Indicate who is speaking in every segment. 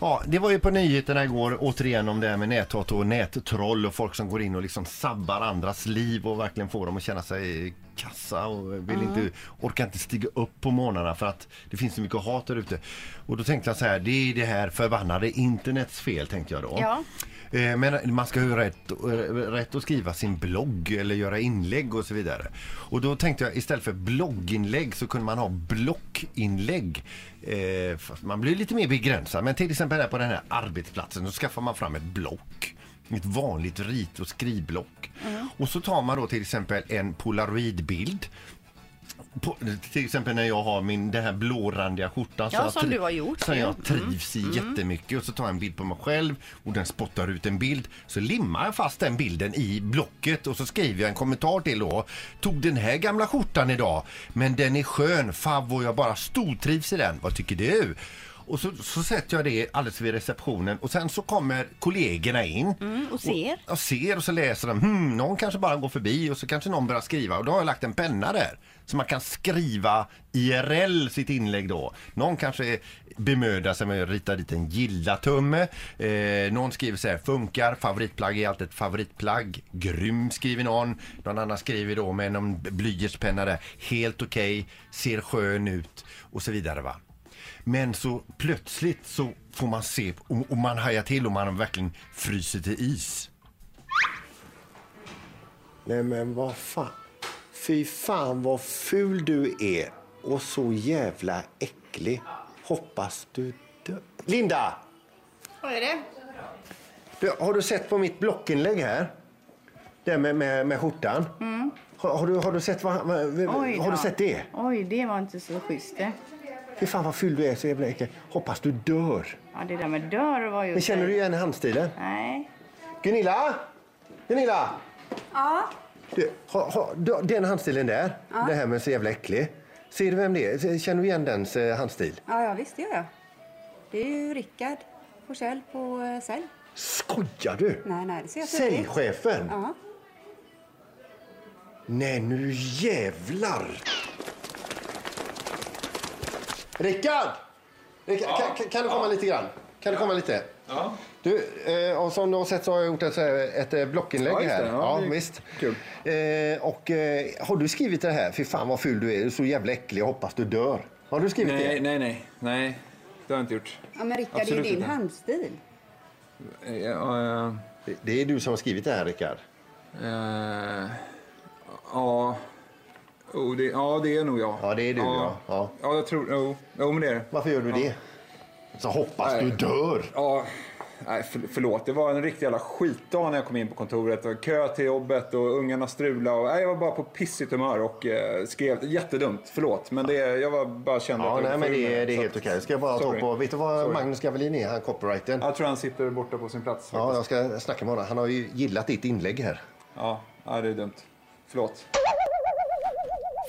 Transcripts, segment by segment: Speaker 1: Ja, det var ju på nyheterna igår återigen om det här med näthat och nättroll och folk som går in och liksom sabbar andras liv och verkligen får dem att känna sig kassa och vill inte, orkar inte stiga upp på morgnarna för att det finns så mycket hat där ute. Och då tänkte jag så här, det är det här förbannade internets fel tänkte jag då.
Speaker 2: Ja.
Speaker 1: Eh, Men man ska ju ha rätt, eh, rätt att skriva sin blogg eller göra inlägg och så vidare. Och då tänkte jag istället för blogginlägg så kunde man ha blockinlägg. Eh, fast man blir lite mer begränsad. Men till exempel här på den här arbetsplatsen då skaffar man fram ett block. Ett vanligt rit och skrivblock.
Speaker 2: Mm.
Speaker 1: Och så tar man då till exempel en polaroidbild. På, till exempel när jag har min, den här blårandiga skjortan.
Speaker 2: Ja,
Speaker 1: så jag
Speaker 2: som
Speaker 1: tri-
Speaker 2: du har gjort.
Speaker 1: Som jag
Speaker 2: Mm.
Speaker 1: trivs i jättemycket. Och så tar jag en bild på mig själv och den spottar ut en bild. Så limmar jag fast den bilden i blocket och så skriver jag en kommentar till då. Tog den här gamla skjortan idag, men den är skön. Favvo, jag bara stortrivs i den. Vad tycker du? Och så, så sätter jag det alldeles vid receptionen och sen så kommer kollegorna in.
Speaker 2: Mm, och ser.
Speaker 1: Jag ser och så läser de. Hmm, någon kanske bara går förbi och så kanske någon börjar skriva. Och då har jag lagt en penna där. Så man kan skriva IRL sitt inlägg då. Någon kanske bemödar sig med att rita dit en gilla-tumme. Eh, någon skriver så här, funkar, favoritplagg är alltid ett favoritplagg. Grym skriver någon. Någon annan skriver då med någon blyertspenna där. Helt okej, ser skön ut och så vidare va. Men så plötsligt så får man se och, och man hajar till och man verkligen fryser till is.
Speaker 3: Nej men vad fan. Fy fan vad ful du är och så jävla äcklig. Hoppas du dör. Linda!
Speaker 2: Vad är det?
Speaker 3: Du, har du sett på mitt blockinlägg här? Det med, med, med skjortan?
Speaker 2: Mm.
Speaker 3: Har, har, du, har, du sett vad, vad, har du sett det?
Speaker 2: Oj, det var inte så schysst eh. det.
Speaker 3: Fy fan vad ful du är, så jävla äcklig. Hoppas du dör.
Speaker 2: Ja, det där med dörr var ju...
Speaker 3: Men känner du igen handstilen?
Speaker 2: Nej.
Speaker 3: Gunilla! Gunilla!
Speaker 4: Ja,
Speaker 3: Du, ha, ha, du- den handstilen där, det här med så jävla äcklig. Ser du vem det är? Känner du igen dens eh, handstil?
Speaker 4: ja, ja visst det gör jag. Det är ju Rickard Forsell på eh, Sell.
Speaker 3: Skojar du?
Speaker 4: Nej, nej, det ser jag tydligt.
Speaker 3: Säljchefen?
Speaker 4: Ja.
Speaker 3: Nej, nu jävlar! Rickard! Rickard kan, kan, kan du komma lite grann? Kan du komma lite?
Speaker 5: Ja.
Speaker 3: Du, eh, och som du har sett så har jag gjort ett, så här- ett eh, blockinlägg
Speaker 5: Ja, just det.
Speaker 3: här.
Speaker 5: Ja, det är
Speaker 3: visst.
Speaker 5: kul.
Speaker 3: Eh, och eh, har du skrivit det här? Fy fan vad ful du är. Du är så jävla äcklig. Jag hoppas du dör. Har du skrivit
Speaker 5: Nej,
Speaker 3: det?
Speaker 5: nej, nej. Nej, det har jag inte gjort.
Speaker 4: ja, men Rickard, det är ju
Speaker 5: Absolut
Speaker 4: din
Speaker 5: inte.
Speaker 4: handstil.
Speaker 5: Eh, Ja,
Speaker 3: Det- Det är du som har skrivit det här, Rickard.
Speaker 5: eh, eh, ja. Oh, det, ja, det är nog jag.
Speaker 3: Ja, det är du, ja. Ja.
Speaker 5: Ja, jag tror... Jo, jo, men det är det.
Speaker 3: Varför gör du det? Så hoppas
Speaker 5: Nej.
Speaker 3: du dör.
Speaker 5: Ja, nej, för, förlåt. Det var en riktig jävla skitdag när jag kom in på kontoret. Och kö till jobbet och ungarna strulade. Och, nej, jag var bara på pissigt humör och eh, skrev jättedumt. Förlåt, men det, jag var, bara kände
Speaker 3: Ja,
Speaker 5: jag var
Speaker 3: nej, men
Speaker 5: ful med
Speaker 3: det, det är
Speaker 5: så
Speaker 3: helt
Speaker 5: att-
Speaker 3: okej. Ska jag bara ta
Speaker 5: Sorry.
Speaker 3: på... Vet du vad
Speaker 5: Sorry.
Speaker 3: Magnus Gavelin är, han copywritern?
Speaker 5: Jag tror han sitter borta på sin plats.
Speaker 3: Ja,
Speaker 5: faktiskt.
Speaker 3: jag ska snacka med honom. Han har ju gillat ditt inlägg här.
Speaker 5: Ja, ja, det är dumt. Förlåt.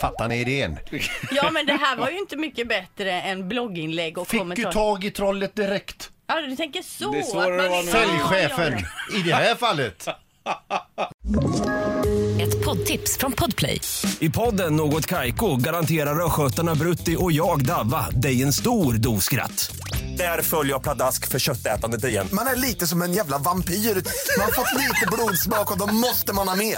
Speaker 1: Fattar ni idén?
Speaker 2: Ja, men det här var ju inte mycket bättre än blogginlägg och
Speaker 1: Fick
Speaker 2: kommentarer.
Speaker 1: du tag i trollet direkt?
Speaker 2: Ja, du tänker så.
Speaker 5: Det är svårare
Speaker 2: att man-
Speaker 5: att vara med.
Speaker 1: Säljchefen,
Speaker 2: Ja, ja,
Speaker 1: i det här fallet.
Speaker 6: Ett poddtips från Podplay.
Speaker 7: I podden Något Kaiko garanterar östgötarna Brutti och jag, Davva, dig en stor dos skratt. Där följer jag pladask för köttätandet igen.
Speaker 8: Man är lite som en jävla vampyr. Man har fått lite blodsmak och då måste man ha mer.